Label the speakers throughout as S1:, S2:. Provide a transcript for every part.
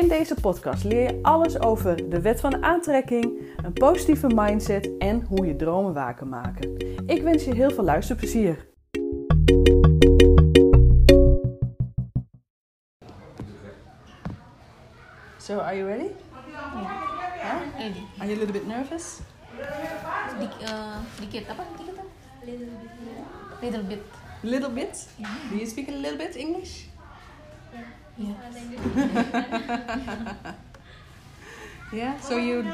S1: In deze podcast leer je alles over de wet van aantrekking, een positieve mindset en hoe je dromen waar kan maken. Ik wens je heel veel luisterplezier. So, are you ready?
S2: Ready.
S1: Are you a little bit nervous?
S2: Dik, eh, dikit apa dikit apa? Little bit.
S1: Little bit? Do you speak a little bit English?
S2: Yeah.
S1: Yeah, so you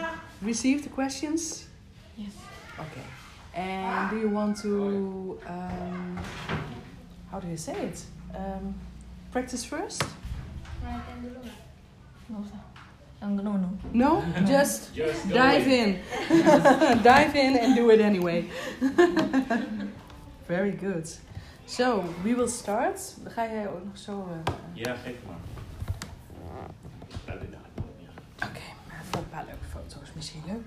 S1: received the questions?
S2: Yes.
S1: Okay. And do you want to, um, how do you say it? Um, practice first?
S2: Nggak usah. Yang no no.
S1: No? Just
S3: Just go
S1: dive
S3: away.
S1: in. dive in and do it anyway. Very good. So, we will start. Ga jij ook nog zo... eh,
S3: Ja, geef maar. Ja, dit gaat wel, ja.
S1: Oké, maar voor een paar leuke foto's misschien leuk.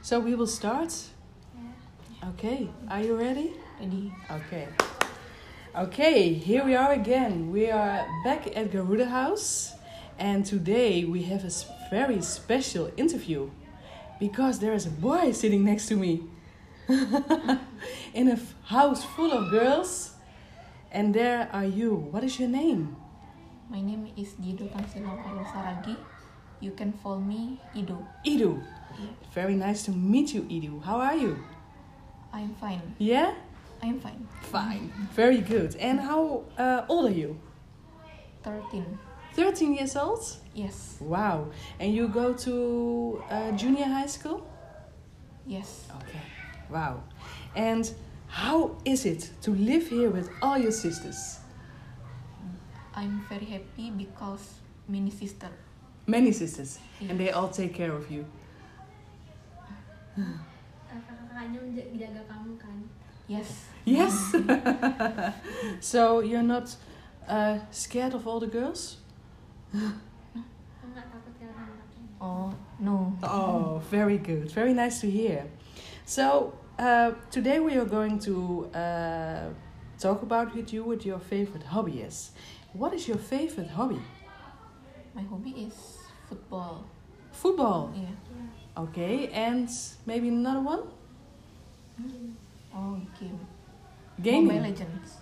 S1: So we will start. Oké, are you ready?
S2: Ready.
S1: Okay. Okay, here we are again. We are back at Garuda House, and today we have a s- very special interview because there is a boy sitting next to me in a f- house full of girls, and there are you. What is your name?
S2: My name is Dido Tansila Pailo Saragi. You can call me Ido.
S1: Idu. Very nice to meet you, Idu. How are you?
S2: I'm fine.
S1: Yeah?
S2: I'm fine.
S1: Fine. Very good. And how uh, old are you?
S2: 13.
S1: 13 years old?
S2: Yes.
S1: Wow. And you go to uh, junior high school?
S2: Yes.
S1: Okay. Wow. And how is it to live here with all your sisters?
S2: I'm very happy because many sister.
S1: Many sisters.
S2: Yeah.
S1: And they all take care of you.
S4: Eh, kakak-kakaknya menja- jaga kamu kan
S2: Yes.
S1: Yes. so you're not uh, scared of all the girls?
S4: kamu nggak takut karena kamu kakaknya
S2: Oh no.
S1: Oh, very good. Very nice to hear. So, uh, today we are going to uh, talk about with you what your favorite hobby is. What is your favorite hobby?
S2: My hobby is football. Iya.
S1: Football.
S2: Yeah.
S1: Okay, and maybe another one?
S2: Oh game. Mobile
S1: Gaming.
S2: Legends.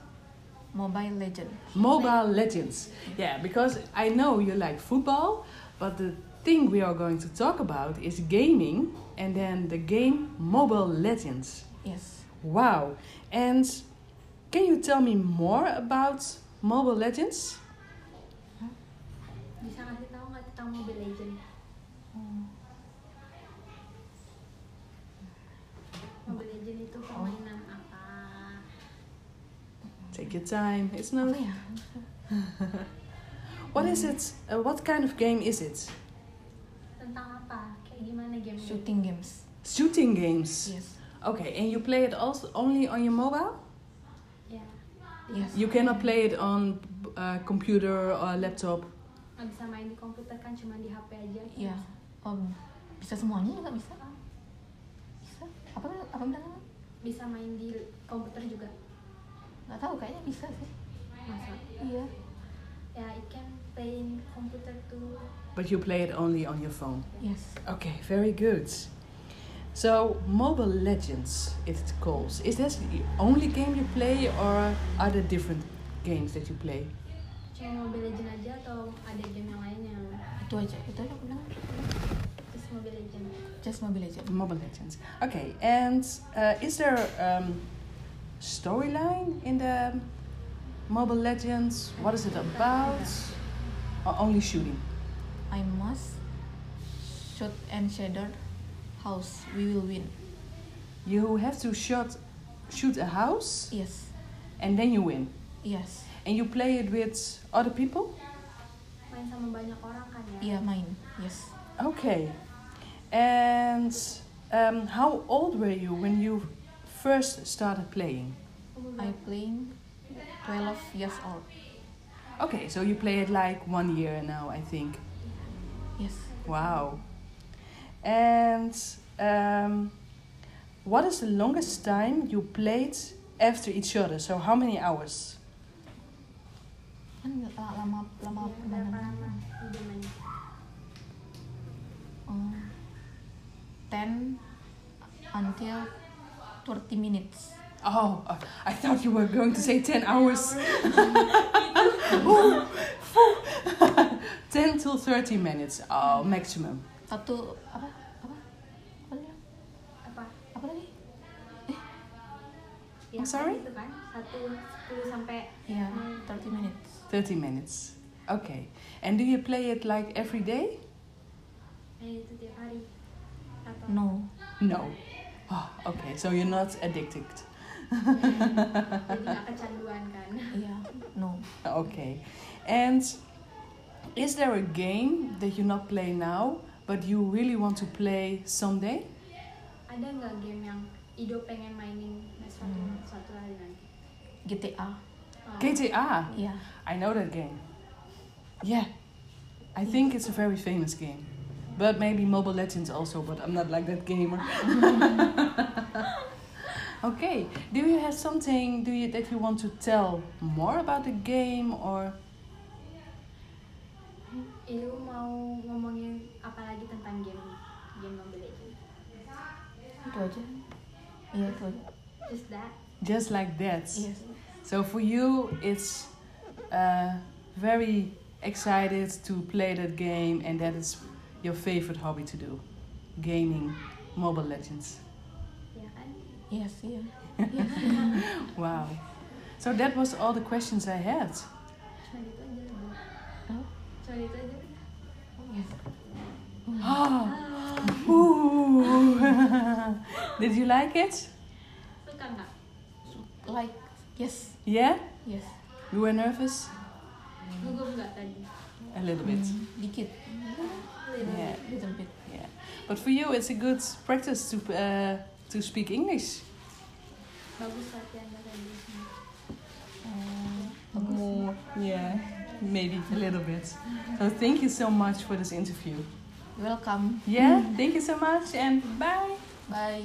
S2: Mobile Legends.
S1: Mobile Legends. Yeah, because I know you like football, but the thing we are going to talk about is gaming and then the game Mobile Legends.
S2: Yes.
S1: Wow. And can you tell me more about Mobile Legends?
S4: bisa ngasih tahu nggak tentang Mobile Legend Mobile Legend itu permainan apa
S1: Take your time. It's
S2: Oh
S1: not.
S2: yeah.
S1: What is it? Uh, what kind of game is it?
S4: tentang apa kayak gimana
S1: Mm.
S4: gamenya
S2: Shooting games.
S1: Shooting games.
S2: Yes.
S1: Okay, and you play it also only on your mobile?
S4: ya
S2: Yes.
S1: You cannot play it on uh, computer or laptop.
S4: nggak bisa main di komputer kan cuma di HP aja kan?
S2: Iya. Om, bisa semuanya juga bisa. Bisa. Apa apa bilangnya?
S4: bisa main di komputer juga
S2: Gak tahu kayaknya bisa sih.
S4: masa
S2: Iya.
S4: ya I can play in computer too
S1: But you play it only on your phone.
S2: Yes.
S1: Okay, very good. So, Mobile Legends, it calls. Is this the only game you play, or are there different games that you play?
S4: cuma Mobile Legend aja atau ada game yang lainnya
S2: Itu aja. Itu aja aku bilang.
S4: terus Mobile Legend
S2: Just Mobile Legends.
S1: Mobile Legends. Okay, and uh, is there um, storyline in the Mobile Legends? What is it about? Or only shooting?
S2: I must shoot and shadow house. We will win.
S1: You have to shoot, shoot a house,
S2: Yes.
S1: and then you win.
S2: Yes.
S1: And you play it with other people.
S4: main main sama banyak orang kan ya?
S1: Iya.
S2: Yeah, mine. Iya, Yes.
S1: Okay. And um, how old were you when you first started playing?
S4: Umur
S2: I
S4: berapa?
S2: playing 12 years old.
S1: Okay, so you play it like one year now, I think.
S2: Yes.
S1: Wow. And um, what is the longest time you played after each other? So how many hours?
S2: Kan la- lama lama
S4: Iya, berapa lama
S2: permainan.
S4: udah main?
S2: Oh, 10 until 30 minutes.
S1: Oh, uh, I thought you were going to say 10 hours. Oeh, oeh. 10 till 30 minutes, oh, maximum.
S2: Satu apa? Apa? Apa lagi?
S4: Apa?
S2: Apa lagi?
S4: Ya,
S1: I'm sorry?
S4: Itu kan? Satu, sepuluh sampai
S2: Yeah, 30 minutes.
S1: 30 minutes. Okay. And do you play it like every day?
S4: main eh, itu tiap hari. Atau
S2: No.
S1: No. Oh, okay. So you're not addicted.
S4: jadi nggak kecanduan kan?
S2: Yeah, Iya. no.
S1: Okay. And is there a game that you not play now, but you really want to play someday?
S4: Ada nggak game yang Ido pengen mainin suatu,
S1: Hmm.
S4: suatu hari nanti?
S2: GTA.
S4: Oh.
S1: GTA.
S2: Yeah.
S1: I know that game. Yeah. I think it's a very famous game. But maybe Mobile Legends also, but I'm not like that gamer. okay. Do you have something do you that you want to tell more about the game or
S4: Ido mau ngomongin apa lagi tentang game game Mobile Legends?
S2: Itu aja. Iya, itu aja.
S4: Just that?
S1: just like that?
S2: Yes.
S1: So for you it's uh, very excited to play that game and that is your favorite hobby to do. Gaming Mobile Legends.
S4: Ya kan?
S2: Yes, iya. yeah.
S1: Wow. So that was all the questions I had.
S4: Cuma itu aja.
S2: Oh,
S4: Cuma itu aja.
S2: yes.
S1: Oh. Ah,
S4: Ah,
S1: Ooh. Did you like it?
S4: Suka nggak?
S2: Like, yes,
S1: Yeah?
S2: yes.
S1: You were nervous?
S4: Gugup nggak tadi?
S1: A little bit.
S2: Hmm, dikit.
S4: Mm.
S1: Yeah.
S2: Little bit.
S1: Yeah. But for you it's a good practice to uh, to speak English.
S4: Bagus latihan bahasa Inggrisnya.
S2: Oh, bagus.
S1: More. Yeah. Maybe a little bit. So thank you so much for this interview.
S2: Welcome.
S1: Yeah, thank you so much and bye.
S2: Bye.